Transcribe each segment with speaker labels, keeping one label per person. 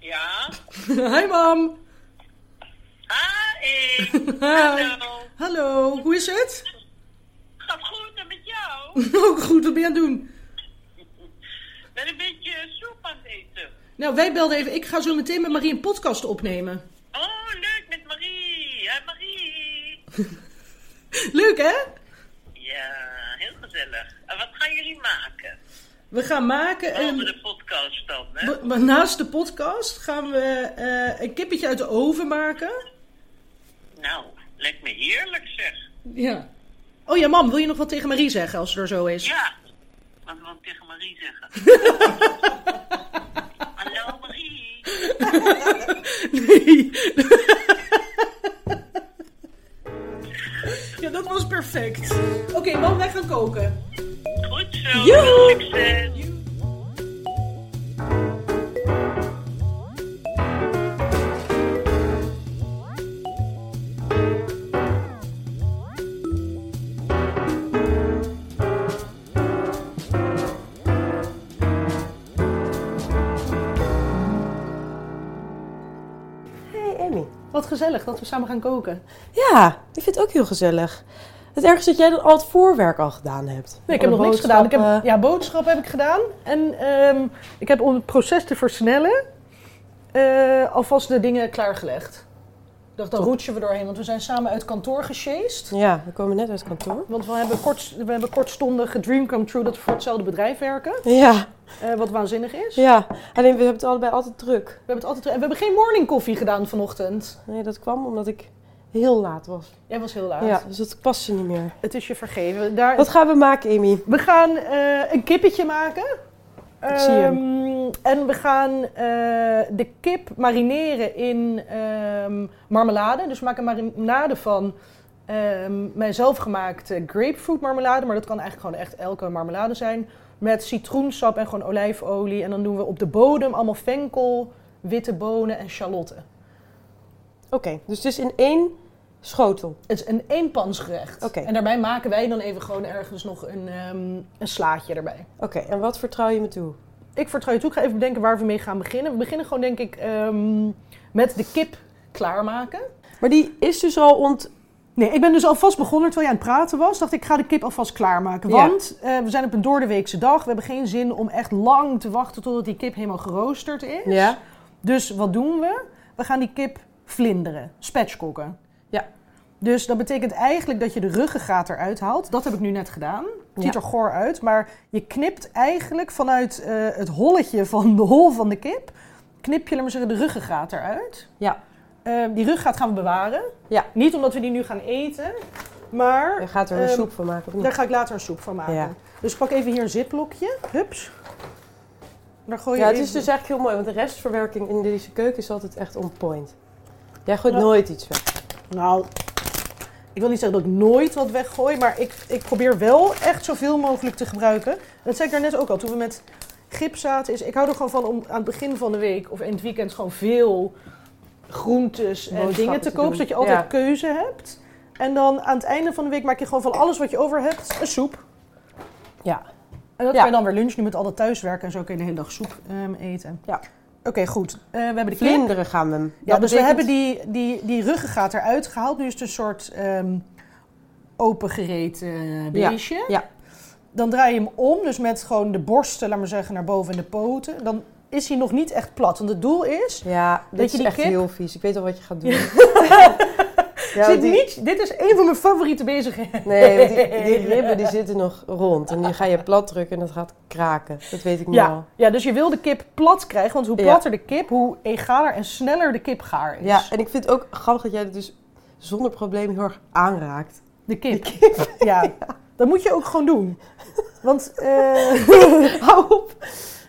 Speaker 1: Ja.
Speaker 2: Hi mam.
Speaker 1: Hi. Hallo.
Speaker 2: Hallo, hoe is het?
Speaker 1: Gaat goed en met jou?
Speaker 2: Ook goed, wat ben je aan het doen?
Speaker 1: Ben een beetje soep aan het eten.
Speaker 2: Nou, wij belden even. Ik ga zo meteen met Marie een podcast opnemen.
Speaker 1: Oh, leuk met Marie. Hi Marie.
Speaker 2: Leuk hè?
Speaker 1: Ja, heel gezellig. En wat gaan jullie maken?
Speaker 2: We gaan maken een...
Speaker 1: Over de podcast dan, hè?
Speaker 2: we- Maar naast de podcast gaan we eh, een kippetje uit de oven maken.
Speaker 1: Nou, lijkt me heerlijk zeg.
Speaker 2: Ja. Oh ja, mam, wil je nog wat tegen Marie zeggen als ze er zo is?
Speaker 1: Ja. Wat wil ik tegen Marie zeggen? Hallo Marie.
Speaker 2: Nee. ja, dat was perfect. Oké, mam, wij gaan koken.
Speaker 1: Goed zo.
Speaker 2: Joehoe.
Speaker 1: Succes.
Speaker 3: Hey Emmy.
Speaker 2: Wat gezellig dat we samen gaan koken.
Speaker 3: Ja, ik vind het ook heel gezellig. Het ergste is dat jij dan al het voorwerk al gedaan hebt.
Speaker 2: Nee, ik heb nog
Speaker 3: Alle
Speaker 2: niks gedaan. Ik heb,
Speaker 3: boodschappen.
Speaker 2: ja, boodschappen heb ik gedaan. En ehm, ik heb om het proces te versnellen eh, alvast de dingen klaargelegd. Ik dacht, dan roetsen we doorheen, want we zijn samen uit kantoor gesjeest.
Speaker 3: Ja, we komen net uit het kantoor.
Speaker 2: Want we hebben, kort, we hebben kortstondig gedream come true dat we voor hetzelfde bedrijf werken.
Speaker 3: Ja,
Speaker 2: eh, wat waanzinnig is.
Speaker 3: ja. Alleen we hebben het allebei altijd druk.
Speaker 2: We hebben, het altijd, en we hebben geen morning koffie gedaan vanochtend.
Speaker 3: Nee, dat kwam omdat ik heel laat was.
Speaker 2: Jij was heel laat.
Speaker 3: Ja, dus dat paste niet meer.
Speaker 2: Het is je vergeven. Daar,
Speaker 3: Wat gaan we maken, Emmy?
Speaker 2: We gaan eh, een kippetje maken.
Speaker 3: Ik zie hem.
Speaker 2: Ehm, en we gaan eh, de kip marineren in ehm, marmelade. Dus we maken een marinade van ehm mijn zelfgemaakte grapefruit marmelade. Maar dat kan eigenlijk gewoon echt elke marmelade zijn. Met citroensap en gewoon olijfolie. En dan doen we op de bodem allemaal venkel, witte bonen en shalotten.
Speaker 3: Oké, dus het is in één schotel.
Speaker 2: Het is een eenpansgerecht.
Speaker 3: Oké.
Speaker 2: En daarbij maken wij dan even gewoon ergens nog een, ehm, een slaatje erbij.
Speaker 3: Oké, en wat vertrouw je me toe?
Speaker 2: Ik vertrouw je toe. Ik ga even bedenken waar we mee gaan beginnen. We beginnen gewoon, denk ik, ehm, met de kip klaarmaken.
Speaker 3: Maar die is dus al ont...
Speaker 2: Nee, ik ben dus alvast begonnen terwijl jij aan het praten was. Dacht ik, ik ga de kip alvast klaarmaken.
Speaker 3: Ja.
Speaker 2: Want eh, we zijn op een doordeweekse dag. We hebben geen zin om echt lang te wachten totdat die kip helemaal geroosterd is.
Speaker 3: Ja?
Speaker 2: Dus wat doen we? We gaan die kip vlinderen, spatchkokken.
Speaker 3: Ja.
Speaker 2: Dus dat betekent eigenlijk dat je de ruggengraat eruit haalt. Dat heb ik nu net gedaan. Het ziet
Speaker 3: Ja.
Speaker 2: er goor uit, maar je knipt eigenlijk vanuit eh, het holletje van de hol van de kip... knip je, laat maar zeggen, de ruggengraat eruit.
Speaker 3: Ja.
Speaker 2: Eh, die ruggengraat gaan we bewaren.
Speaker 3: Ja.
Speaker 2: Niet omdat we die nu gaan eten, maar
Speaker 3: Je gaat er een
Speaker 2: Ehm,
Speaker 3: soep van maken, of
Speaker 2: daar
Speaker 3: niet?
Speaker 2: ga ik later een soep van maken.
Speaker 3: Ja.
Speaker 2: Dus ik pak even hier een zitblokje. Hups. Daar gooi je
Speaker 3: Ja, het
Speaker 2: even-
Speaker 3: is dus eigenlijk heel mooi, want de restverwerking in deze keuken is altijd echt on point. Jij gooit
Speaker 2: Ja.
Speaker 3: nooit iets weg.
Speaker 2: Nou, ik wil niet zeggen dat ik nooit wat weggooi, maar ik, ik probeer wel echt zoveel mogelijk te gebruiken. Dat zei ik daarnet ook al, toen we met gips zaten. Is, ik hou er gewoon van om aan het begin van de week of in het weekend gewoon veel groentes en
Speaker 3: Boodschappen
Speaker 2: dingen te
Speaker 3: te
Speaker 2: kopen,
Speaker 3: doen.
Speaker 2: zodat je altijd
Speaker 3: Ja.
Speaker 2: keuze hebt. En dan aan het einde van de week maak je gewoon van alles wat je over hebt een soep.
Speaker 3: Ja.
Speaker 2: En dat
Speaker 3: Ja.
Speaker 2: kan je dan weer lunchen. Nu met al dat thuiswerken en zo kun je de hele dag soep ehm, eten.
Speaker 3: Ja.
Speaker 2: Oké, goed. Eh, we hebben de kip.
Speaker 3: Vlinderen gaan we hem.
Speaker 2: Ja,
Speaker 3: Dat
Speaker 2: dus we
Speaker 3: betekent-
Speaker 2: hebben die, die, die ruggengraat eruit gehaald. Nu is het een soort ehm opengereten eh, beestje.
Speaker 3: ja.
Speaker 2: Dan draai je hem om, dus met gewoon de borsten, laat maar zeggen, naar boven en de poten. Dan is hij nog niet echt plat. Want het doel is,
Speaker 3: Ja, dit
Speaker 2: je
Speaker 3: is
Speaker 2: die
Speaker 3: echt
Speaker 2: kip?
Speaker 3: heel vies. Ik weet al wat je gaat doen. Ja,
Speaker 2: zit
Speaker 3: want die-
Speaker 2: niet, dit is een van mijn favoriete bezigheden.
Speaker 3: Nee, want die, die ribben die zitten nog rond. En die ga je plat drukken en dat gaat kraken. Dat weet ik nu
Speaker 2: Ja,
Speaker 3: al.
Speaker 2: ja, dus je wil de kip plat krijgen, want hoe
Speaker 3: Ja.
Speaker 2: platter de kip, hoe egaler en sneller de kip gaar is.
Speaker 3: Ja, en ik vind het ook grappig dat jij het dus zonder probleem heel erg aanraakt.
Speaker 2: De kip. Ja. dat moet je ook gewoon doen. Want, eh, hou op.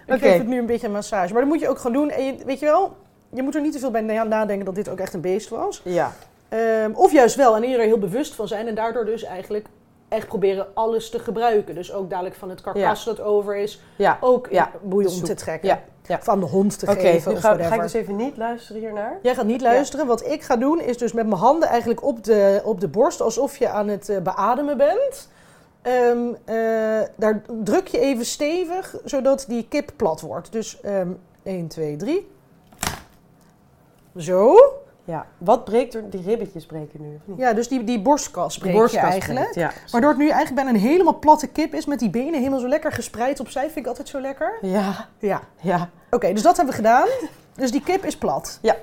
Speaker 2: Ik
Speaker 3: Oké.
Speaker 2: geef het nu een beetje een massage. Maar dat moet je ook gewoon doen. En je, weet je wel, je moet er niet te veel bij na- nadenken dat dit ook echt een beest was.
Speaker 3: Ja.
Speaker 2: Ehm, of juist wel, en je er heel bewust van zijn. En daardoor dus eigenlijk echt proberen alles te gebruiken. Dus ook dadelijk van het karkas dat over is,
Speaker 3: Ja.
Speaker 2: ook
Speaker 3: Ja,
Speaker 2: in bouillon
Speaker 3: soep.
Speaker 2: te trekken.
Speaker 3: Ja. ja.
Speaker 2: Of aan de hond te
Speaker 3: Oké,
Speaker 2: geven
Speaker 3: nu
Speaker 2: of
Speaker 3: ga, ga ik
Speaker 2: whatever.
Speaker 3: dus even niet luisteren hiernaar.
Speaker 2: Jij gaat niet luisteren. Wat ik ga doen is dus met mijn handen eigenlijk op de, op de borst, alsof je aan het eh, beademen bent. Ehm, eh, daar druk je even stevig, zodat die kip plat wordt. Dus ehm 1, 2, 3. Zo.
Speaker 3: Ja. Wat breekt er? Die ribbetjes breken nu. of niet?
Speaker 2: Ja, dus die, die borstkas breek
Speaker 3: Die borstkast
Speaker 2: je
Speaker 3: breekt,
Speaker 2: eigenlijk.
Speaker 3: ja.
Speaker 2: Waardoor het nu eigenlijk bijna een helemaal platte kip is met die benen helemaal zo lekker gespreid opzij. Vind ik altijd zo lekker.
Speaker 3: Ja,
Speaker 2: Ja.
Speaker 3: ja.
Speaker 2: Oké, dus dat hebben we gedaan. Dus die kip is plat.
Speaker 3: Ja.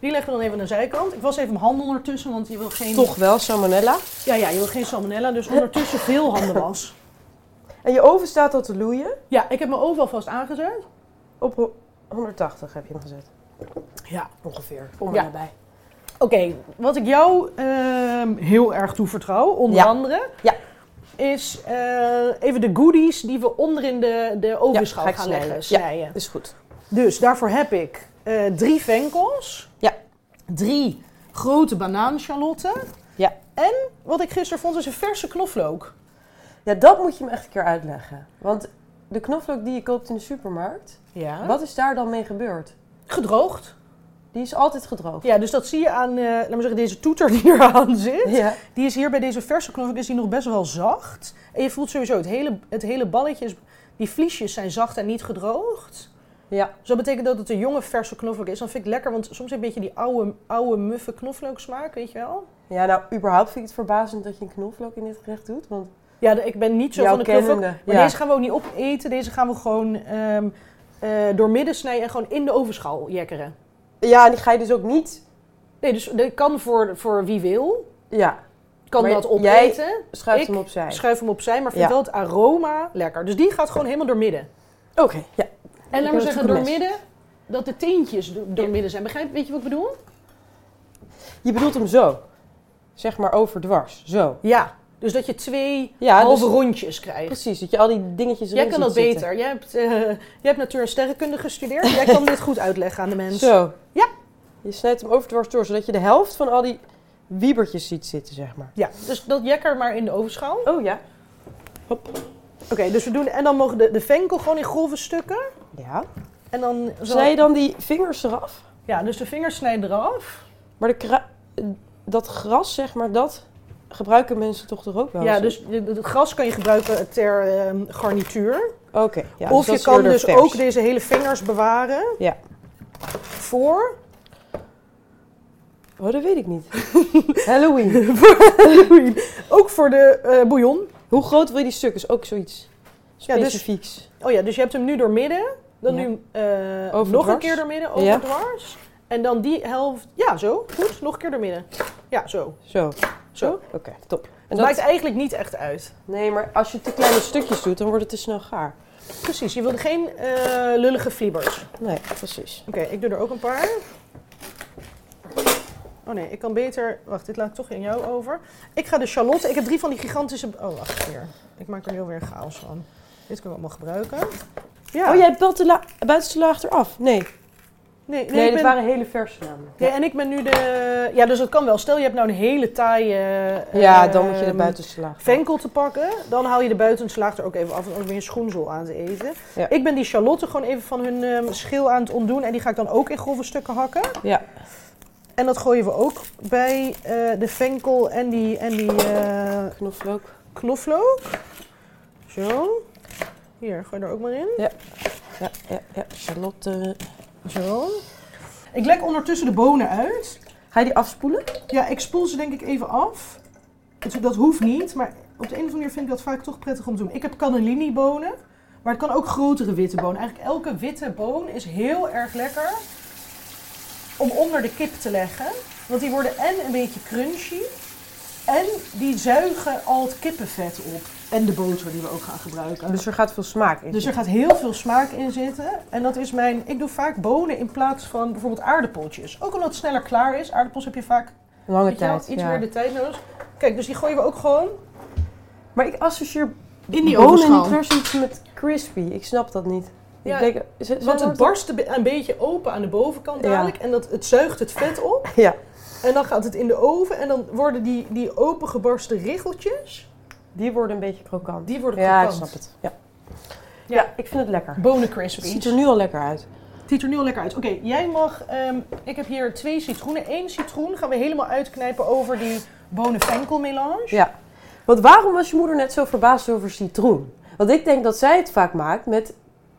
Speaker 2: Die leggen we dan even aan de zijkant. Ik was even mijn handen ondertussen, want je wil geen...
Speaker 3: Toch wel, salmonella.
Speaker 2: Ja, ja, je wil geen salmonella, dus ondertussen veel handen was.
Speaker 3: En je oven staat al te loeien.
Speaker 2: Ja, ik heb mijn oven alvast aangezet.
Speaker 3: Op ho- 180 heb je hem gezet.
Speaker 2: Ja.
Speaker 3: Ongeveer. Om en
Speaker 2: Ja.
Speaker 3: nabij.
Speaker 2: Oké, wat ik jou ehm, heel erg toevertrouw, onder
Speaker 3: Ja.
Speaker 2: andere...
Speaker 3: Ja.
Speaker 2: Is eh, even de goodies die we onderin de, de ovenschaal
Speaker 3: ga ik
Speaker 2: gaan
Speaker 3: snijden.
Speaker 2: leggen,
Speaker 3: Ja.
Speaker 2: snijden.
Speaker 3: Is goed.
Speaker 2: Dus daarvoor heb ik eh, drie venkels.
Speaker 3: Ja.
Speaker 2: Drie grote banaansjalotten.
Speaker 3: Ja.
Speaker 2: En wat ik gisteren vond is een verse knoflook.
Speaker 3: Ja, dat moet je me echt een keer uitleggen. Want de knoflook die je koopt in de supermarkt,
Speaker 2: Ja.
Speaker 3: wat is daar dan mee gebeurd?
Speaker 2: Gedroogd.
Speaker 3: Die is altijd gedroogd.
Speaker 2: Ja, dus dat zie je aan, eh laat maar zeggen, deze toeter die eraan zit.
Speaker 3: Ja.
Speaker 2: Die is hier bij deze verse knoflook is die nog best wel zacht. En je voelt sowieso het hele, het hele balletje, is- die vliesjes zijn zacht en niet gedroogd.
Speaker 3: Ja.
Speaker 2: Dus dat betekent dat het een jonge verse knoflook is. Dan vind ik lekker, want soms heb je een beetje die oude, oude muffe knoflook smaak, weet je wel.
Speaker 3: Ja, nou, überhaupt vind ik het verbazend dat je een knoflook in dit gerecht doet. Want
Speaker 2: Ja, de- ik ben niet zo
Speaker 3: jouw
Speaker 2: van de knoflook.
Speaker 3: kennende-
Speaker 2: Maar
Speaker 3: ja.
Speaker 2: deze gaan we ook niet opeten. Deze gaan we gewoon ehm eh doormidden snijden en gewoon in de ovenschaal jekkeren.
Speaker 3: ja, en die ga je dus ook niet...
Speaker 2: Nee, dus dat kan voor, voor wie wil.
Speaker 3: Ja,
Speaker 2: Kan
Speaker 3: Maar
Speaker 2: dat
Speaker 3: jij
Speaker 2: opeten.
Speaker 3: schuift
Speaker 2: Ik
Speaker 3: hem opzij.
Speaker 2: Schuif hem opzij, maar vind
Speaker 3: Ja.
Speaker 2: wel het aroma lekker. Dus die gaat gewoon helemaal doormidden.
Speaker 3: Oké, ja.
Speaker 2: En laat
Speaker 3: heb
Speaker 2: maar
Speaker 3: het
Speaker 2: zeggen,
Speaker 3: goede mes.
Speaker 2: doormidden, dat de teentjes do- doormidden zijn. Begrijp, weet je wat ik bedoel?
Speaker 3: Je bedoelt hem zo. Zeg maar overdwars. Zo.
Speaker 2: Ja. Dus dat je twee
Speaker 3: Ja,
Speaker 2: halve
Speaker 3: dus-
Speaker 2: rondjes krijgt.
Speaker 3: Precies, dat je al die dingetjes erin
Speaker 2: Jij kan dat
Speaker 3: ziet zitten.
Speaker 2: beter. Jij hebt, eh, jij hebt natuur- en sterrenkunde gestudeerd. Jij kan dit goed uitleggen aan de mensen.
Speaker 3: Zo.
Speaker 2: Ja.
Speaker 3: Je snijdt hem overdwars door, zodat je de helft van al die wiebertjes ziet zitten, zeg maar.
Speaker 2: Ja, dus dat jekker maar in de ovenschaal.
Speaker 3: Oh ja. Hop.
Speaker 2: Oké, dus we doen. En dan mogen de, de venkel gewoon in grove stukken.
Speaker 3: Ja.
Speaker 2: En dan. Zo,
Speaker 3: Snij je dan die vingers eraf?
Speaker 2: Ja, dus de vingers snijden eraf.
Speaker 3: Maar de kra- dat gras, zeg maar, dat gebruiken mensen toch toch ook wel?
Speaker 2: ja,
Speaker 3: eens?
Speaker 2: dus je- het gras kan je gebruiken ter ehm, garnituur.
Speaker 3: Oké. ja,
Speaker 2: of
Speaker 3: dat
Speaker 2: je
Speaker 3: is
Speaker 2: kan
Speaker 3: eerder
Speaker 2: dus
Speaker 3: vers.
Speaker 2: ook deze hele vingers bewaren.
Speaker 3: Ja.
Speaker 2: Voor.
Speaker 3: Oh, dat weet ik niet. Halloween.
Speaker 2: ook voor de eh, bouillon.
Speaker 3: Hoe groot wil je die stuk? Is ook zoiets
Speaker 2: Ja, dus-
Speaker 3: specifieks.
Speaker 2: Oh ja, dus je hebt hem nu doormidden. Dan
Speaker 3: Ja.
Speaker 2: nu eh,
Speaker 3: Overdwars.
Speaker 2: nog een keer doormidden,
Speaker 3: Ja.
Speaker 2: overdwars. En dan die helft. Ja, zo. Goed. Nog een keer doormidden. Ja, zo.
Speaker 3: Zo.
Speaker 2: Zo.
Speaker 3: Oké, top. En
Speaker 2: Het
Speaker 3: dat...
Speaker 2: maakt eigenlijk niet echt uit.
Speaker 3: Nee, maar als je te kleine stukjes doet, dan wordt het te snel gaar.
Speaker 2: Precies, je wilde geen eh, lullige flibbers.
Speaker 3: Nee, precies.
Speaker 2: Oké, ik doe er ook een paar. Oh nee, ik kan beter... Wacht, dit laat ik toch in jou over. Ik ga de Charlotte... Ik heb drie van die gigantische... Oh, wacht hier. Ik maak er heel weer chaos van. Dit kunnen we allemaal gebruiken. Ja.
Speaker 3: Oh, jij hebt wel de la- buitenste laag eraf? Nee.
Speaker 2: Nee, nee,
Speaker 3: Nee,
Speaker 2: ik
Speaker 3: dat
Speaker 2: ben-
Speaker 3: waren hele verse namelijk.
Speaker 2: nee, en ik ben nu de... Ja, dus dat kan wel. Stel, je hebt nou een hele taaie... eh,
Speaker 3: Ja, dan moet je de
Speaker 2: ehm,
Speaker 3: buitenste laag.
Speaker 2: venkel te pakken. Dan haal je de buitenslaag er ook even af. Want anders ben je schoenzel aan het eten.
Speaker 3: Ja.
Speaker 2: Ik ben die Charlotte gewoon even van hun ehm, schil aan het ontdoen. En die ga ik dan ook in grove stukken hakken.
Speaker 3: Ja.
Speaker 2: En dat gooien we ook bij eh, de venkel en die, en die eh,
Speaker 3: Knoflook.
Speaker 2: knoflook. Zo. Hier, gooi er ook maar in.
Speaker 3: Ja, ja, ja. Charlotte.
Speaker 2: Zo. Ik lek ondertussen de bonen uit.
Speaker 3: Ga je die afspoelen?
Speaker 2: Ja, ik spoel ze denk ik even af. Het- Dat hoeft niet, maar op de een of andere manier vind ik dat vaak toch prettig om te doen. Ik heb cannellini bonen, maar het kan ook grotere witte bonen. Eigenlijk elke witte boon is heel erg lekker om onder de kip te leggen. Want die worden en een beetje crunchy en die zuigen al het kippenvet op. En de boter die we ook gaan gebruiken.
Speaker 3: Dus er gaat veel smaak in.
Speaker 2: Dus er gaat heel veel smaak in zitten. En dat is mijn. Ik doe vaak bonen in plaats van bijvoorbeeld aardappeltjes. Ook omdat het sneller klaar is. Aardappels heb je vaak
Speaker 3: Lange
Speaker 2: Weet je wel,
Speaker 3: tijd.
Speaker 2: iets
Speaker 3: ja.
Speaker 2: meer de tijd nodig. Kijk, dus die gooien we ook gewoon
Speaker 3: Maar ik associeer
Speaker 2: in
Speaker 3: bonen niet per se iets met crispy. Ik snap dat niet.
Speaker 2: Ja,
Speaker 3: ik denk, z- zijn
Speaker 2: Want het
Speaker 3: dat-
Speaker 2: barst een be- een beetje open aan de bovenkant
Speaker 3: Ja.
Speaker 2: dadelijk. En dat, het zuigt het vet op.
Speaker 3: Ja.
Speaker 2: En dan gaat het in de oven. En dan worden die, die opengebarsten richeltjes...
Speaker 3: Die worden een beetje krokant.
Speaker 2: Die worden
Speaker 3: ja, ik
Speaker 2: krokant.
Speaker 3: snap het. Ja.
Speaker 2: Ja.
Speaker 3: Ja. ik vind het lekker.
Speaker 2: Bonen
Speaker 3: Het
Speaker 2: crispy.
Speaker 3: ziet er nu al lekker uit.
Speaker 2: Ziet er nu al lekker uit. Oké, jij mag... ehm, ik heb hier twee citroenen. Eén citroen gaan we helemaal uitknijpen over die bonen-venkel-melange.
Speaker 3: Ja. Want waarom was je moeder net zo verbaasd over citroen? Want ik denk dat zij het vaak maakt met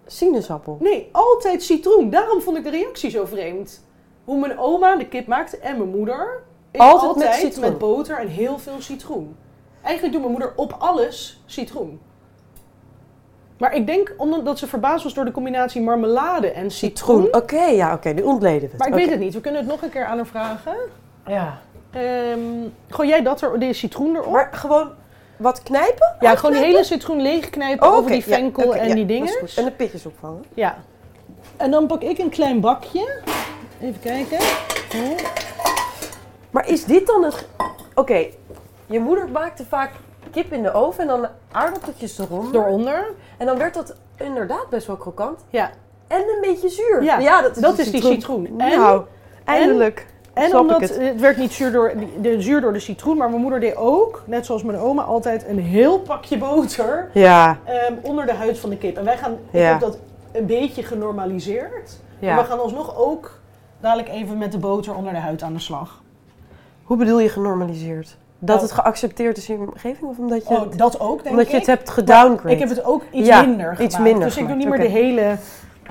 Speaker 3: sinaasappel.
Speaker 2: Nee, altijd citroen. Daarom vond ik de reactie zo vreemd. hoe mijn oma de kip maakte en mijn moeder. is
Speaker 3: Altijd met citroen.
Speaker 2: met boter en heel veel citroen. Eigenlijk doet mijn moeder op alles citroen. Maar ik denk omdat ze verbaasd was door de combinatie marmelade en citroen.
Speaker 3: Citroen. Oké, ja, oké. nu ontleden we het.
Speaker 2: Mhm. Maar ik
Speaker 3: Oké.
Speaker 2: weet het niet. We kunnen het nog een keer aan haar vragen.
Speaker 3: Ja.
Speaker 2: Ehm, gooi jij dat er, de citroen erop?
Speaker 3: Maar gewoon wat knijpen?
Speaker 2: ja, gewoon die hele citroen leegknijpen
Speaker 3: Oh,
Speaker 2: over
Speaker 3: oké,
Speaker 2: die
Speaker 3: ja,
Speaker 2: venkel
Speaker 3: oké,
Speaker 2: en
Speaker 3: ja,
Speaker 2: die
Speaker 3: dat is
Speaker 2: dingen.
Speaker 3: goed. En de pitjes opvangen.
Speaker 2: Ja. En dan pak ik een klein bakje. Even kijken. Zo.
Speaker 3: Maar is dit dan het... ge- Oké, je moeder maakte vaak kip in de oven en dan aardappeltjes erom.
Speaker 2: Dooronder.
Speaker 3: En dan werd dat inderdaad best wel krokant.
Speaker 2: Ja.
Speaker 3: En een beetje zuur.
Speaker 2: Ja,
Speaker 3: dat is,
Speaker 2: dat
Speaker 3: de
Speaker 2: is die citroen. En-
Speaker 3: nou, eindelijk
Speaker 2: En
Speaker 3: snap
Speaker 2: omdat
Speaker 3: ik het.
Speaker 2: het. werd niet zuur door, de, zuur door de citroen, maar mijn moeder deed ook, net zoals mijn oma, altijd een heel pakje boter
Speaker 3: Ja,
Speaker 2: ehm, onder de huid van de kip. En wij gaan, ik
Speaker 3: Ja.
Speaker 2: heb dat een beetje genormaliseerd.
Speaker 3: ja.
Speaker 2: Maar we gaan alsnog ook dadelijk even met de boter onder de huid aan de slag.
Speaker 3: Hoe bedoel je genormaliseerd? Dat
Speaker 2: Oh.
Speaker 3: het geaccepteerd is in je omgeving of omdat je, het-
Speaker 2: Oh, dat ook denk
Speaker 3: omdat
Speaker 2: ik.
Speaker 3: je het hebt gedowngraded?
Speaker 2: Ik heb het ook iets
Speaker 3: Ja,
Speaker 2: minder
Speaker 3: iets
Speaker 2: gemaakt.
Speaker 3: minder
Speaker 2: dus ik doe niet meer
Speaker 3: gemaakt,
Speaker 2: de hele,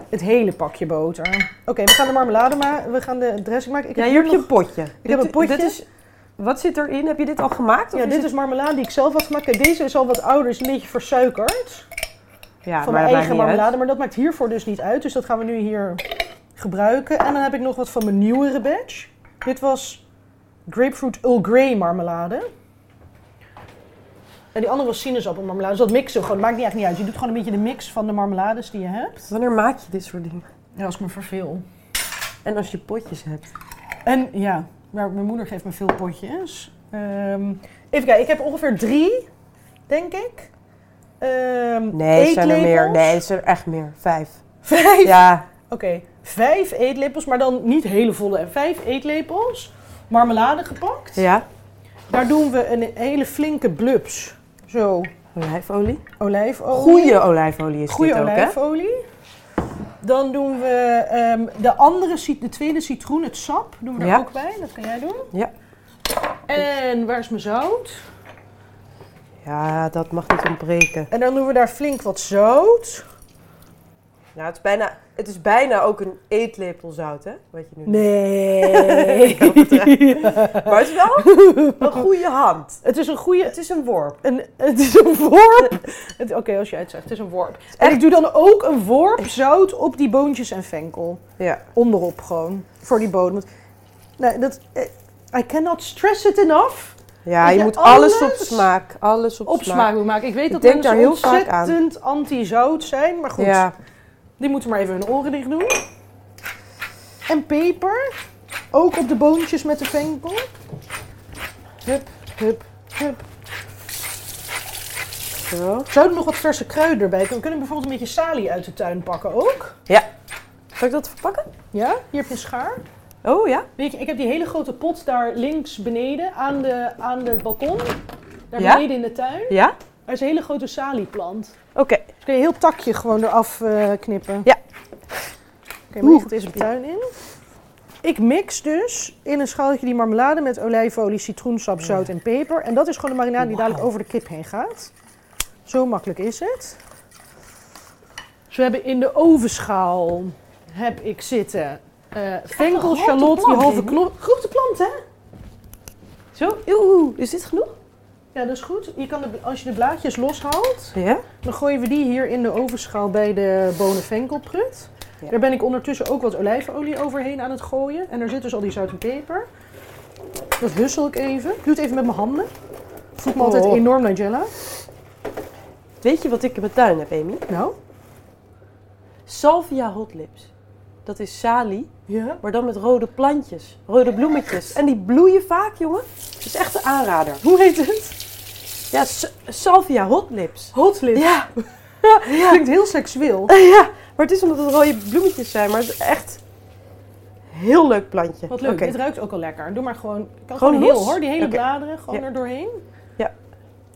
Speaker 2: het hele pakje boter. Oké, we gaan de marmelade maken. We gaan de dressing maken. Ik
Speaker 3: ja,
Speaker 2: heb
Speaker 3: hier heb je
Speaker 2: nog-
Speaker 3: een potje. Ik
Speaker 2: heb een potje.
Speaker 3: Dit is, wat zit erin? Heb je dit al gemaakt? Of
Speaker 2: Ja, dit
Speaker 3: het-
Speaker 2: is marmelade die ik zelf had gemaakt. Kijk, deze is al wat ouder, is een beetje versuikerd.
Speaker 3: ja,
Speaker 2: van
Speaker 3: maar
Speaker 2: mijn
Speaker 3: dat maakt
Speaker 2: eigen
Speaker 3: niet uit.
Speaker 2: marmelade. Maar dat maakt hiervoor dus niet uit. Dus dat gaan we nu hier gebruiken. En dan heb ik nog wat van mijn nieuwere batch. Dit was grapefruit Earl Grey marmelade. En die andere was sinaasappelmarmelade. Dus dat mixen we gewoon. Maakt niet echt niet uit. Je doet gewoon een beetje de mix van de marmelades die je hebt.
Speaker 3: Wanneer maak je dit soort dingen?
Speaker 2: Ja, als ik me verveel.
Speaker 3: En als je potjes hebt.
Speaker 2: En ja, maar mijn moeder geeft me veel potjes. Ehm, even kijken, ik heb ongeveer drie, denk ik. Ehm,
Speaker 3: Nee, zijn er meer.
Speaker 2: eetlepels.
Speaker 3: Nee, zijn er echt meer. Vijf.
Speaker 2: Vijf?
Speaker 3: Ja,
Speaker 2: Oké, vijf eetlepels, maar dan niet hele volle. En vijf eetlepels, marmelade gepakt.
Speaker 3: ja.
Speaker 2: Daar doen we een hele flinke blubs. Zo,
Speaker 3: Olijfolie.
Speaker 2: olijfolie.
Speaker 3: Goede olijfolie is
Speaker 2: Goeie
Speaker 3: dit ook, hè?
Speaker 2: olijfolie. Dan doen we ehm, de andere, cit- de tweede citroen, het sap, doen we er
Speaker 3: Ja.
Speaker 2: ook bij. Dat kan jij doen.
Speaker 3: Ja.
Speaker 2: En waar is mijn zout?
Speaker 3: Ja, dat mag niet ontbreken.
Speaker 2: En dan doen we daar flink wat zout.
Speaker 3: Nou, het is bijna, het is bijna ook een eetlepel zout, hè? Wat je nu
Speaker 2: Nee.
Speaker 3: Maar het is wel een goede hand.
Speaker 2: het is een goede.
Speaker 3: Het is een worp.
Speaker 2: Een, het is een worp. Het- Oké, als jij het zegt, het is een worp. En ik doe dan ook een worp zout op die boontjes en venkel.
Speaker 3: Ja.
Speaker 2: Onderop gewoon. Voor die bodem. Want- Nee, dat. eh, I cannot stress it enough.
Speaker 3: Ja,
Speaker 2: Weet
Speaker 3: je
Speaker 2: je,
Speaker 3: moet alles op
Speaker 2: alles
Speaker 3: smaak. Alles op,
Speaker 2: op smaak moet maken. Ik weet
Speaker 3: Ik
Speaker 2: dat
Speaker 3: denk
Speaker 2: mensen
Speaker 3: daar heel vaak aan.
Speaker 2: ontzettend anti-zout zijn, maar goed,
Speaker 3: Ja.
Speaker 2: die moeten maar even hun oren dicht doen. En peper, ook op de boontjes met de venkel. Hup, hup, hup.
Speaker 3: Zo.
Speaker 2: Zouden nog wat verse kruiden erbij kunnen? We kunnen bijvoorbeeld een beetje salie uit de tuin pakken ook.
Speaker 3: Zal ik dat verpakken?
Speaker 2: Ja, hier heb je een schaar.
Speaker 3: Oh ja.
Speaker 2: Weet je, ik heb die hele grote pot daar links beneden aan, de, aan het balkon. Daar
Speaker 3: Ja?
Speaker 2: beneden in de tuin.
Speaker 3: Ja?
Speaker 2: Daar is een hele grote salieplant.
Speaker 3: Oké.
Speaker 2: Dus kun je heel takje gewoon eraf eh, knippen.
Speaker 3: Ja.
Speaker 2: Oké, maar leg het eens een tuin in. Ik mix dus in een schaaltje die marmelade met olijfolie, citroensap, zout en peper. En dat is gewoon de marinade die dadelijk over de kip heen gaat. Zo makkelijk is het. Dus we hebben in de ovenschaal heb ik zitten eh venkel,
Speaker 3: grote
Speaker 2: shallot, die
Speaker 3: plant,
Speaker 2: halve
Speaker 3: Amy.
Speaker 2: knop. Grote plant, hè?
Speaker 3: Zo. Oeh, is dit genoeg?
Speaker 2: Ja, dat is goed. Je kan de, als je de blaadjes loshaalt,
Speaker 3: Ja.
Speaker 2: Dan gooien we die hier in de ovenschaal bij de bonenvenkelprut.
Speaker 3: Ja.
Speaker 2: Daar ben ik ondertussen ook wat olijfolie overheen aan het gooien. En er zit dus al die zout en peper. Dat hussel ik even. Ik doe het even met mijn handen. Voelt me altijd
Speaker 3: Oh.
Speaker 2: enorm Nigella.
Speaker 3: Weet je wat ik in mijn tuin heb, Amy?
Speaker 2: Nou.
Speaker 3: Salvia hot lips. Dat is salie,
Speaker 2: Ja.
Speaker 3: maar dan met rode plantjes, rode bloemetjes. En die bloeien vaak, jongen. Dat is echt een aanrader.
Speaker 2: Hoe heet het?
Speaker 3: Ja, s- salvia hot lips.
Speaker 2: Hot lip.
Speaker 3: Ja.
Speaker 2: Klinkt heel seksueel.
Speaker 3: ja, maar het is omdat het rode bloemetjes zijn, maar het is echt heel leuk plantje.
Speaker 2: Wat leuk.
Speaker 3: Oké.
Speaker 2: Dit ruikt ook al lekker. Doe maar gewoon. ik Kan
Speaker 3: Gewoon
Speaker 2: gewoon, heel
Speaker 3: los?
Speaker 2: hoor. Die hele
Speaker 3: Oké.
Speaker 2: bladeren gewoon
Speaker 3: Ja.
Speaker 2: er doorheen.
Speaker 3: Ja.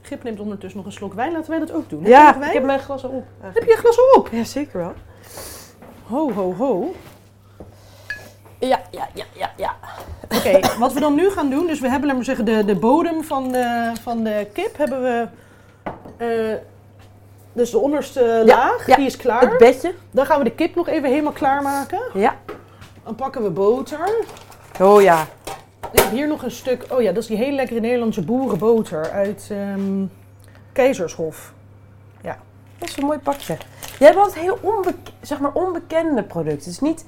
Speaker 2: Gip neemt ondertussen nog een slok wijn. Laten wij dat ook doen. Heb jij nog
Speaker 3: Ja,
Speaker 2: wijn?
Speaker 3: ik heb mijn glas al op.
Speaker 2: heb je een glas op?
Speaker 3: Ja, zeker wel.
Speaker 2: Ho, ho, ho.
Speaker 3: Ja, ja, ja, ja, ja.
Speaker 2: Oké, wat we dan nu gaan doen, dus we hebben, laten we zeggen, de, de bodem van de, van de kip hebben we, eh, dus de onderste laag,
Speaker 3: ja.
Speaker 2: die is
Speaker 3: Het
Speaker 2: klaar.
Speaker 3: bedje.
Speaker 2: Dan gaan we de kip nog even helemaal klaarmaken.
Speaker 3: Ja.
Speaker 2: Oké, Dan pakken we boter.
Speaker 3: Oh ja.
Speaker 2: Ik heb hier nog een stuk. Oh ja, dat is die hele lekkere Nederlandse boerenboter uit ehm, Keizershof.
Speaker 3: Dat is een mooi pakje. Jij hebt altijd heel onbek- zeg maar onbekende producten. Het is niet...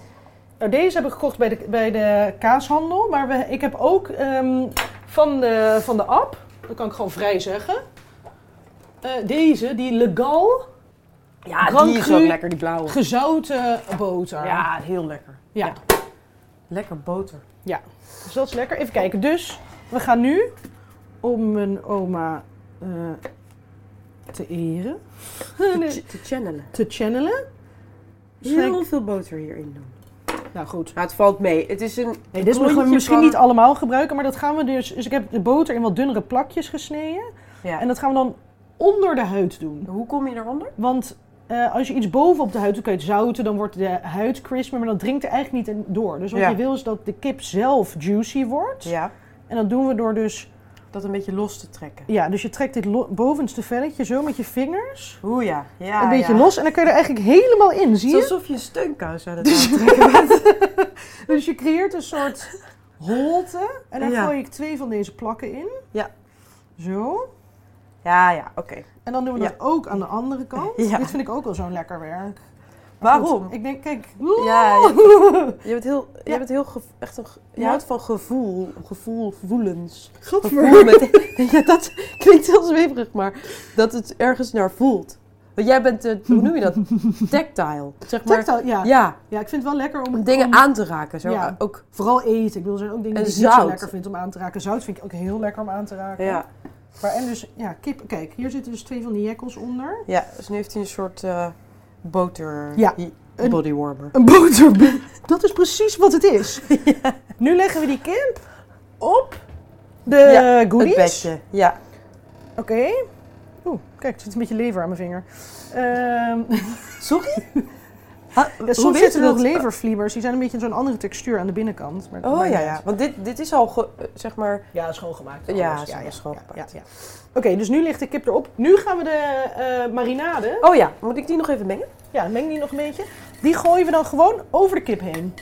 Speaker 2: Nou, deze heb ik gekocht bij de, bij de kaashandel. Maar we, ik heb ook ehm, van, de, van de app, dat kan ik gewoon vrij zeggen. eh, deze, die Legal
Speaker 3: Ja,
Speaker 2: Grand
Speaker 3: die is
Speaker 2: Cru.
Speaker 3: ook lekker, die blauwe.
Speaker 2: gezouten boter.
Speaker 3: Ja, heel lekker.
Speaker 2: ja.
Speaker 3: Ja. Lekker boter.
Speaker 2: Dus dat is lekker. Even kijken. Dus we gaan nu om mijn oma eh, te eren.
Speaker 3: Te channelen.
Speaker 2: te channelen.
Speaker 3: Heel veel boter hierin doen.
Speaker 2: Nou goed.
Speaker 3: Nou, het valt mee. Het is een...
Speaker 2: Nee, dit
Speaker 3: klontje
Speaker 2: moeten we misschien
Speaker 3: van-
Speaker 2: niet allemaal gebruiken, maar dat gaan we dus. Dus ik heb de boter in wat dunnere plakjes gesneden.
Speaker 3: Ja.
Speaker 2: En dat gaan we dan onder de huid doen.
Speaker 3: Hoe kom je eronder?
Speaker 2: Want eh, als je iets boven op de huid doet, kun je het zouten, dan wordt de huid crisper, maar dan dringt er eigenlijk niet in door. Dus wat
Speaker 3: Ja.
Speaker 2: je wil is dat de kip zelf juicy wordt.
Speaker 3: Ja.
Speaker 2: En dat doen we door dus.
Speaker 3: Dat een beetje los te trekken.
Speaker 2: Ja, dus je trekt dit lo- bovenste velletje zo met je vingers.
Speaker 3: Oeh ja. ja
Speaker 2: een beetje
Speaker 3: Ah, ja.
Speaker 2: los en dan kun je er eigenlijk helemaal in, zie
Speaker 3: Het
Speaker 2: je?
Speaker 3: is alsof je een steunkous aan het aantrekken bent.
Speaker 2: Dus je creëert een soort holte. En daar
Speaker 3: Ja.
Speaker 2: gooi ik twee van deze plakken in.
Speaker 3: Ja.
Speaker 2: Zo.
Speaker 3: Ja, ja, oké.
Speaker 2: En dan doen we
Speaker 3: Ja.
Speaker 2: dat ook aan de andere kant.
Speaker 3: Ja.
Speaker 2: Dit vind ik ook al zo'n lekker werk.
Speaker 3: Waarom?
Speaker 2: Goed, ik denk, kijk.
Speaker 3: Ja, je, je bent heel, je
Speaker 2: Ja.
Speaker 3: bent heel ge- echt een, ge- je
Speaker 2: Ja.
Speaker 3: houdt van gevoel, gevoel, gevoelens. Gevoel
Speaker 2: Godver.
Speaker 3: met, ja, dat klinkt heel zweverig, maar dat het ergens naar voelt. Want jij bent, eh, hoe noem je dat? Tactile. Zeg maar,
Speaker 2: Tactile, ja. ja.
Speaker 3: Ja,
Speaker 2: ik vind het wel lekker om
Speaker 3: om dingen aan te raken. Zo. eh,
Speaker 2: Ja.
Speaker 3: Ook,
Speaker 2: Vooral eten. Ik wil zijn ook dingen
Speaker 3: En
Speaker 2: die ik niet zo
Speaker 3: zout.
Speaker 2: lekker vind om aan te raken. Zout vind ik ook heel lekker om aan te raken.
Speaker 3: ja.
Speaker 2: Maar en dus, ja, kip. Kijk, hier zitten dus twee van die jekkels onder.
Speaker 3: ja, dus nu heeft hij een soort eh, boter
Speaker 2: Ja,
Speaker 3: i-
Speaker 2: een-
Speaker 3: bodywarmer.
Speaker 2: Een boter. Dat is precies wat het is. Nu leggen we die kip op de
Speaker 3: Ja,
Speaker 2: goodies.
Speaker 3: Het bedje, ja.
Speaker 2: Oké. Oeh, kijk, er zit een beetje lever aan mijn vinger. Ehm,
Speaker 3: Sorry?
Speaker 2: Ah,
Speaker 3: Ha, hoe
Speaker 2: soms
Speaker 3: weet je
Speaker 2: zitten er nog
Speaker 3: Eh, dat?
Speaker 2: levervliebers. Die zijn een beetje zo'n andere textuur aan de binnenkant. Maar dat
Speaker 3: Oh
Speaker 2: maakt
Speaker 3: ja,
Speaker 2: niet
Speaker 3: ja.
Speaker 2: uit.
Speaker 3: Want dit, dit is al, ge- eh, zeg maar...
Speaker 2: Ja, schoongemaakt.
Speaker 3: Ja,
Speaker 2: alles.
Speaker 3: ze zijn schoongepakt.
Speaker 2: ja. Oké, dus nu ligt de kip erop. Nu gaan we de eh, marinade.
Speaker 3: Oh ja, moet ik die nog even mengen?
Speaker 2: Ja, meng die nog een beetje. Die gooien we dan gewoon over de kip heen.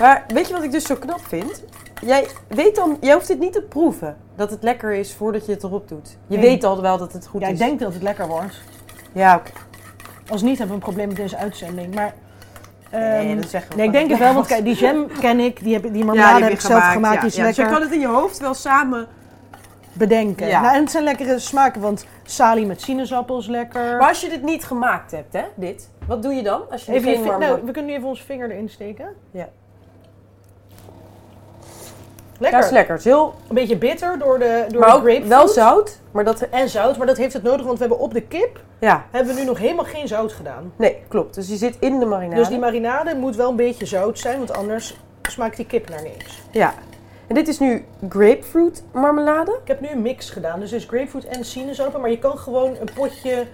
Speaker 3: Maar weet je wat ik dus zo knap vind? Jij weet dan, jij hoeft het niet te proeven dat het lekker is voordat je het erop doet. Je
Speaker 2: Nee.
Speaker 3: weet al wel dat het goed
Speaker 2: ja,
Speaker 3: is.
Speaker 2: ik denk dat het lekker wordt.
Speaker 3: Ja, oké.
Speaker 2: Als niet hebben we een probleem met deze uitzending. Maar. ehm,
Speaker 3: Nee, dat zeggen we
Speaker 2: nee, ik
Speaker 3: gewoon.
Speaker 2: denk het wel, want kijk, die jam ken ik, die, heb, ik- die marmelade heb ik zelf gemaakt, die is lekker.
Speaker 3: het in je hoofd wel samen.
Speaker 2: bedenken.
Speaker 3: Ja.
Speaker 2: Nou, en het zijn lekkere smaken, want salie met sinaasappel is lekker.
Speaker 3: Maar als je dit niet gemaakt hebt, hè, dit, wat doe je dan? Als je
Speaker 2: Even je
Speaker 3: geen
Speaker 2: vin-
Speaker 3: marmelaat-
Speaker 2: nou, we kunnen nu even onze vinger erin steken.
Speaker 3: Ja.
Speaker 2: Lekker.
Speaker 3: Ja, is lekker. Het is heel,
Speaker 2: Een beetje bitter door de, door
Speaker 3: maar
Speaker 2: de
Speaker 3: ook
Speaker 2: grapefruit.
Speaker 3: wel zout, maar dat,
Speaker 2: En zout, maar dat heeft het nodig, want we hebben op de kip
Speaker 3: ja,
Speaker 2: hebben we nu nog helemaal geen zout gedaan.
Speaker 3: nee, klopt. Dus die zit in de marinade.
Speaker 2: Dus die marinade moet wel een beetje zout zijn, want anders smaakt die kip naar niks.
Speaker 3: Ja. En dit is nu grapefruit marmelade.
Speaker 2: Ik heb nu een mix gedaan, dus het is grapefruit en sinaasappel, maar je kan gewoon een potje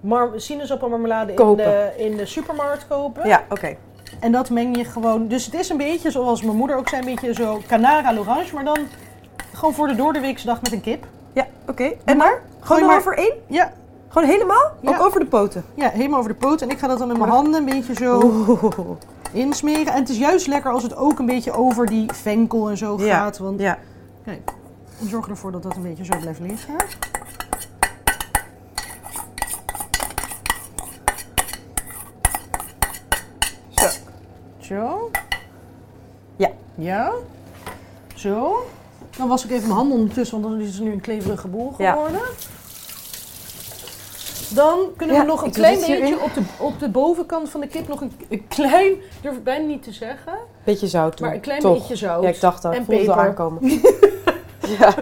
Speaker 2: mar- sinaasappelmarmelade in
Speaker 3: Kopen.
Speaker 2: de, in de supermarkt kopen.
Speaker 3: Ja, oké.
Speaker 2: En dat meng je gewoon. Dus het is een beetje zoals mijn moeder ook zei, een beetje zo Canara l'orange, maar dan gewoon voor de doordeweekse dag met een kip.
Speaker 3: Ja, oké.
Speaker 2: maar.
Speaker 3: En maar? Gewoon
Speaker 2: maar.
Speaker 3: erover één?
Speaker 2: Ja,
Speaker 3: Gewoon helemaal?
Speaker 2: Ja.
Speaker 3: Ook over de poten?
Speaker 2: ja, helemaal over de poot. En ik ga dat dan met mijn handen een beetje zo insmeren. En het is juist lekker als het ook een beetje over die venkel en zo
Speaker 3: Ja,
Speaker 2: gaat. Want
Speaker 3: Ja.
Speaker 2: kijk, we zorgen ervoor dat dat een beetje zo blijft liggen.
Speaker 3: Zo.
Speaker 2: Zo.
Speaker 3: Ja.
Speaker 2: Ja. Zo. Dan was ik even mijn handen ondertussen, want dan is het nu een kleverige boel
Speaker 3: Ja.
Speaker 2: geworden. Dan kunnen we
Speaker 3: Ja,
Speaker 2: nog een
Speaker 3: ik doe
Speaker 2: klein
Speaker 3: dit hierin.
Speaker 2: beetje op de, op de bovenkant van de kip nog een, een klein, durf ik bijna niet te zeggen,
Speaker 3: Beetje zout doen.
Speaker 2: maar een klein
Speaker 3: Toch.
Speaker 2: beetje zout.
Speaker 3: Ja, ik dacht al.
Speaker 2: En
Speaker 3: Ik voelde het al
Speaker 2: peper.
Speaker 3: aankomen. ja.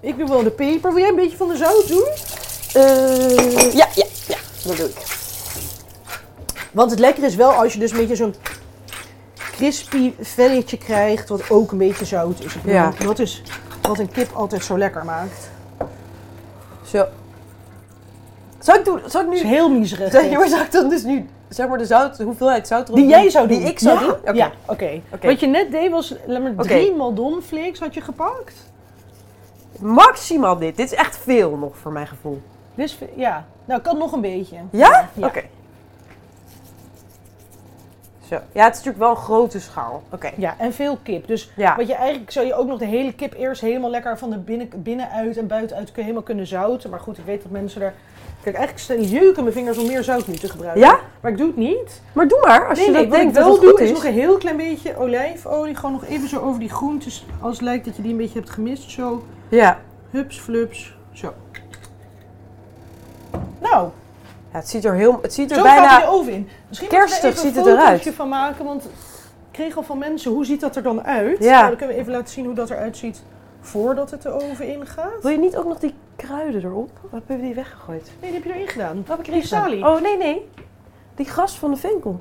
Speaker 2: Ik doe wel de peper. Wil jij een beetje van de zout doen?
Speaker 3: Eh, ja, ja, ja. Dat doe ik.
Speaker 2: Want het lekker is wel als je dus een beetje zo'n crispy velletje krijgt, wat ook een beetje zout is. Ik bedoel,
Speaker 3: Ja.
Speaker 2: Dat is wat een kip altijd zo lekker maakt.
Speaker 3: Zo. Zou ik, doen, zou ik
Speaker 2: Het is
Speaker 3: nu...
Speaker 2: heel miserig.
Speaker 3: Zeg,
Speaker 2: dit.
Speaker 3: jongens, zou ik dan dus nu... Zeg maar de zout, de hoeveelheid zout erop
Speaker 2: Die
Speaker 3: doen?
Speaker 2: jij zou doen?
Speaker 3: Die ik zou
Speaker 2: ja?
Speaker 3: doen? Oké.
Speaker 2: Ja, oké.
Speaker 3: Oké.
Speaker 2: Wat je net deed was, laat maar,
Speaker 3: Oké.
Speaker 2: drie Maldon flakes had je gepakt.
Speaker 3: Maximaal dit. Dit is echt veel nog voor mijn gevoel.
Speaker 2: Dus ja, nou kan nog een beetje.
Speaker 3: Ja?
Speaker 2: Ja.
Speaker 3: Oké. Zo. Ja, het is natuurlijk wel een grote schaal. Oké.
Speaker 2: Ja, en veel kip. Dus
Speaker 3: Ja.
Speaker 2: wat je eigenlijk zou je ook nog de hele kip eerst helemaal lekker van de binnen, binnenuit en buitenuit kun- helemaal kunnen zouten. Maar goed, ik weet dat mensen daar. Kijk, eigenlijk jeuken mijn vingers om meer zout nu te gebruiken.
Speaker 3: Ja?
Speaker 2: Maar ik doe het niet.
Speaker 3: Maar doe maar. Als
Speaker 2: nee,
Speaker 3: je
Speaker 2: nee,
Speaker 3: dat
Speaker 2: wat ik
Speaker 3: denkt dat
Speaker 2: wel
Speaker 3: het
Speaker 2: doe
Speaker 3: goed
Speaker 2: is.
Speaker 3: is.
Speaker 2: nog een heel klein beetje olijfolie. Gewoon nog even zo over die groentes. Als het lijkt dat je die een beetje hebt gemist. Zo,
Speaker 3: Ja.
Speaker 2: hups, flups, zo. Nou,
Speaker 3: ja. Het ziet er, heel, het ziet er
Speaker 2: zo gaat hij
Speaker 3: bijna...
Speaker 2: de oven in. Misschien
Speaker 3: kerstig
Speaker 2: moeten we
Speaker 3: ziet
Speaker 2: even
Speaker 3: het
Speaker 2: een
Speaker 3: eruit.
Speaker 2: fotootje van maken, want ik kreeg al van mensen, hoe ziet dat er dan uit?
Speaker 3: Ja.
Speaker 2: Nou, dan kunnen we even laten zien hoe dat eruit ziet voordat het de oven ingaat.
Speaker 3: Wil je niet ook nog die kruiden erop? Wat hebben we die weggegooid?
Speaker 2: Nee, die heb je erin gedaan.
Speaker 3: Wat heb ik
Speaker 2: Die
Speaker 3: gedaan?
Speaker 2: salie.
Speaker 3: Oh, nee, nee. Die gras van de venkel.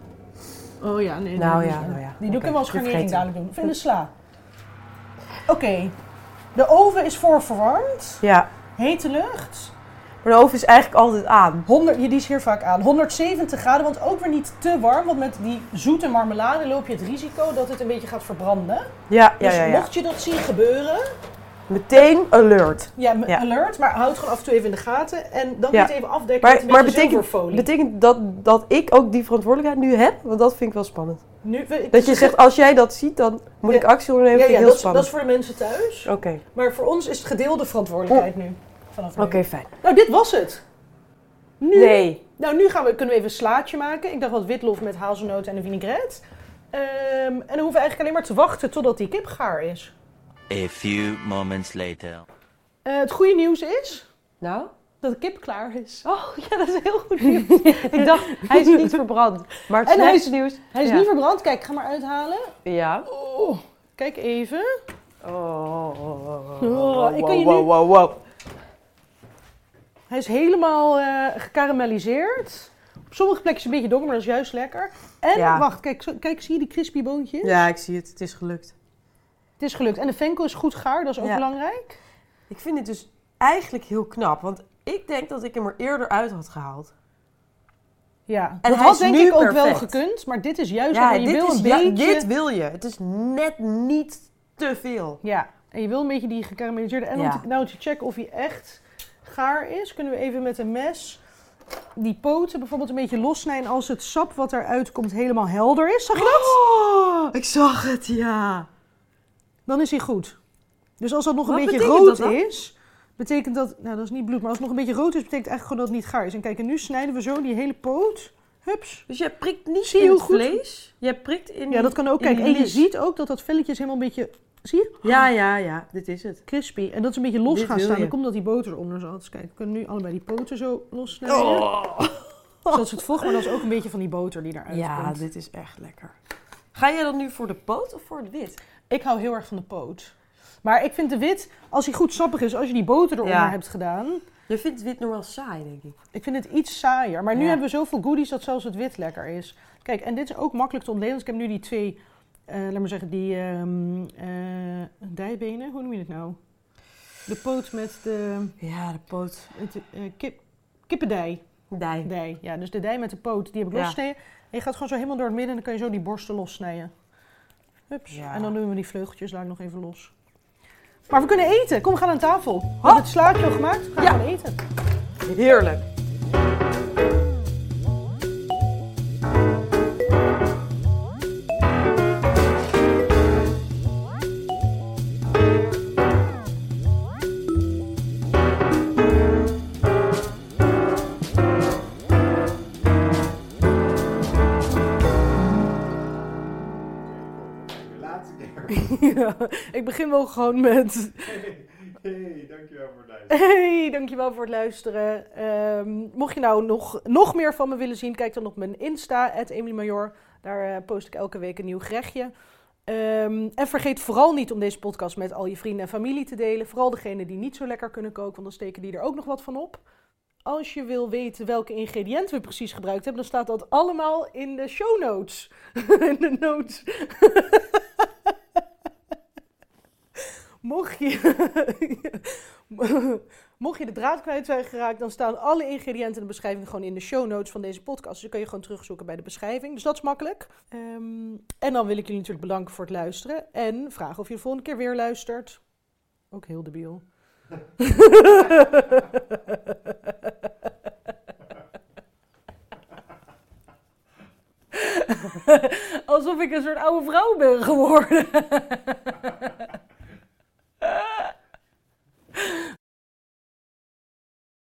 Speaker 2: Oh ja, nee.
Speaker 3: Nou
Speaker 2: die is
Speaker 3: ja,
Speaker 2: er.
Speaker 3: nou ja.
Speaker 2: Die doe ik
Speaker 3: Oké,
Speaker 2: hem als
Speaker 3: die
Speaker 2: garnering
Speaker 3: vergeten.
Speaker 2: dadelijk doen. Of in de sla. Oké, de oven is voorverwarmd.
Speaker 3: Ja.
Speaker 2: Hete lucht.
Speaker 3: Maar de oven is eigenlijk altijd aan.
Speaker 2: 100, ja, die is hier vaak aan. 170 graden, want ook weer niet te warm. Want met die zoete marmelade loop je het risico dat het een beetje gaat verbranden.
Speaker 3: Ja, ja,
Speaker 2: Dus
Speaker 3: ja. ja.
Speaker 2: mocht je dat zien gebeuren,
Speaker 3: Meteen alert.
Speaker 2: Ja, m-
Speaker 3: Ja.
Speaker 2: alert, maar houd gewoon af en toe even in de gaten en dan
Speaker 3: Ja.
Speaker 2: niet even afdekken
Speaker 3: Maar-
Speaker 2: met een
Speaker 3: maar
Speaker 2: beetje
Speaker 3: betekent-
Speaker 2: zilverfolie.
Speaker 3: Betekent dat dat ik ook die verantwoordelijkheid nu heb? Want dat vind ik wel spannend.
Speaker 2: nu, we- het
Speaker 3: Dat
Speaker 2: is
Speaker 3: je
Speaker 2: een
Speaker 3: zegt, als jij dat ziet, dan moet
Speaker 2: Ja.
Speaker 3: ik actie
Speaker 2: ge-
Speaker 3: ondernemen.
Speaker 2: ja,
Speaker 3: vind
Speaker 2: ja,
Speaker 3: ik heel
Speaker 2: dat, is- dat
Speaker 3: spannend.
Speaker 2: is voor de mensen thuis,
Speaker 3: Oké,
Speaker 2: maar voor ons is het gedeelde verantwoordelijkheid nu. Vanaf nu.
Speaker 3: oké, fijn.
Speaker 2: Nou, dit was het. Nu,
Speaker 3: Nee.
Speaker 2: Nou, nu gaan we, kunnen we even een slaatje maken. Ik dacht wat witlof met hazelnoten en een vinaigrette. Ehm, en dan hoeven we eigenlijk alleen maar te wachten totdat die kip gaar is.
Speaker 4: A few moments later.
Speaker 2: Eh, het goede nieuws is
Speaker 3: Nou?
Speaker 2: dat de kip klaar is.
Speaker 3: Oh, ja, dat is heel goed nieuws. ik dacht, hij is niet verbrand. Maar het
Speaker 2: En hij
Speaker 3: slechtste nieuws...
Speaker 2: Hij is
Speaker 3: Ja.
Speaker 2: niet verbrand. Kijk, ik ga maar uithalen.
Speaker 3: Ja.
Speaker 2: Oh, kijk even.
Speaker 3: Oh,
Speaker 2: Oh, ik kan je nu-
Speaker 3: wow, wow, wow.
Speaker 2: Hij is helemaal eh gekarameliseerd. Op sommige plekjes een beetje donker, maar dat is juist lekker. En
Speaker 3: Ja.
Speaker 2: wacht, kijk, zo- kijk, zie je die crispy boontjes?
Speaker 3: Ja, ik zie het. Het is gelukt.
Speaker 2: Het is gelukt. En de venkel is goed gaar, dat is ook
Speaker 3: Ja.
Speaker 2: belangrijk.
Speaker 3: Ik vind het dus eigenlijk heel knap. Want ik denk dat ik hem er eerder uit had gehaald.
Speaker 2: Ja.
Speaker 3: En
Speaker 2: dat
Speaker 3: hij
Speaker 2: had
Speaker 3: is
Speaker 2: denk
Speaker 3: nu
Speaker 2: ik ook wel
Speaker 3: perfect.
Speaker 2: gekund, maar dit is juist
Speaker 3: ja,
Speaker 2: omdat je
Speaker 3: dit,
Speaker 2: wil
Speaker 3: is,
Speaker 2: een
Speaker 3: ja,
Speaker 2: beetje...
Speaker 3: dit wil je. Het is net niet te veel.
Speaker 2: Ja, en je wil een beetje die gekarameliseerde. En
Speaker 3: Ja.
Speaker 2: om te, nou te checken of hij echt gaar is, kunnen we even met een mes die poten bijvoorbeeld een beetje lossnijden als het sap wat eruit komt helemaal helder is. Zag je dat?
Speaker 3: Oh, ik zag het, ja.
Speaker 2: dan is hij goed. Dus als dat nog
Speaker 3: Wat
Speaker 2: een beetje
Speaker 3: betekent
Speaker 2: rood
Speaker 3: dat dan?
Speaker 2: is, betekent dat, nou dat is niet bloed, maar als het nog een beetje rood is, betekent eigenlijk gewoon dat het niet gaar is. En kijk, en nu snijden we zo die hele poot. Hups.
Speaker 3: Dus jij prikt niet
Speaker 2: Zie je
Speaker 3: in
Speaker 2: hoe
Speaker 3: het
Speaker 2: goed-
Speaker 3: vlees. Jij prikt in
Speaker 2: Ja,
Speaker 3: die-
Speaker 2: dat kan ook.
Speaker 3: in
Speaker 2: Kijk,
Speaker 3: die
Speaker 2: en je
Speaker 3: lies.
Speaker 2: ziet ook dat dat velletje is helemaal een beetje, zie je?
Speaker 3: Ja, ja, ja. Dit is het.
Speaker 2: Crispy. En dat is een beetje los
Speaker 3: Dit
Speaker 2: gaan
Speaker 3: wil
Speaker 2: staan.
Speaker 3: je.
Speaker 2: Dan komt dat die boter eronder zat. Dus kijk, we kunnen nu allebei die poten zo lossnijden. Zoals het vocht, maar dat is ook een beetje van die boter die eruit
Speaker 3: Ja,
Speaker 2: komt.
Speaker 3: dit is echt lekker. Ga jij dan nu voor de poot of voor het wit?
Speaker 2: Ik hou heel erg van de poot. Maar ik vind de wit, als hij goed sappig is, als je die boter eronder
Speaker 3: Ja.
Speaker 2: hebt gedaan,
Speaker 3: Je vindt wit normaal saai, denk ik.
Speaker 2: Ik vind het iets saaier. Maar nu
Speaker 3: Ja.
Speaker 2: hebben we zoveel goodies dat zelfs het wit lekker is. Kijk, en dit is ook makkelijk te ontleden. Dus ik heb nu die twee, eh laat maar zeggen, die ehm, eh, dijbenen. Hoe noem je het nou? De poot met de
Speaker 3: Ja, de poot.
Speaker 2: het, eh, kip, kippendij.
Speaker 3: Nee.
Speaker 2: Dij. Ja, dus de dij met de poot, die heb ik
Speaker 3: Ja.
Speaker 2: losgesneden. En je gaat gewoon zo helemaal door het midden en dan kan je zo die borsten lossnijden. Hups.
Speaker 3: Ja.
Speaker 2: En dan doen we die vleugeltjes daar nog even los. Maar we kunnen eten. Kom, we gaan aan tafel. We hebben het slaatje al gemaakt. We gaan
Speaker 3: Ja.
Speaker 2: gewoon eten.
Speaker 3: Heerlijk.
Speaker 5: Laatste keer.
Speaker 2: ik begin wel gewoon met
Speaker 5: Hey, dankjewel voor het luisteren.
Speaker 2: Hey, dankjewel voor het luisteren. Ehm, mocht je nou nog, nog meer van me willen zien, kijk dan op mijn Insta, Emily Major. Daar eh, post ik elke week een nieuw gerechtje. Ehm, en vergeet vooral niet om deze podcast met al je vrienden en familie te delen. Vooral degenen die niet zo lekker kunnen koken, want dan steken die er ook nog wat van op. Als je wil weten welke ingrediënten we precies gebruikt hebben, dan staat dat allemaal in de show notes. in de notes. Mocht je... Mocht je de draad kwijt zijn geraakt, dan staan alle ingrediënten en de beschrijving gewoon in de show notes van deze podcast. Dus dan kan je gewoon terugzoeken bij de beschrijving. Dus dat is makkelijk. Ehm, en dan wil ik jullie natuurlijk bedanken voor het luisteren. En vragen of je de volgende keer weer luistert. Ook heel debiel. Oké, alsof ik een soort oude vrouw ben geworden.